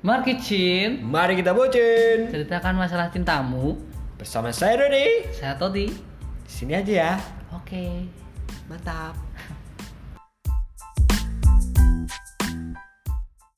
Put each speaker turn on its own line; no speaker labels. Mari Kitchen
Mari kita bocin
ceritakan masalah cintamu.
bersama saya Doni.
Saya Todi.
Sini aja ya.
Oke.
Mantap.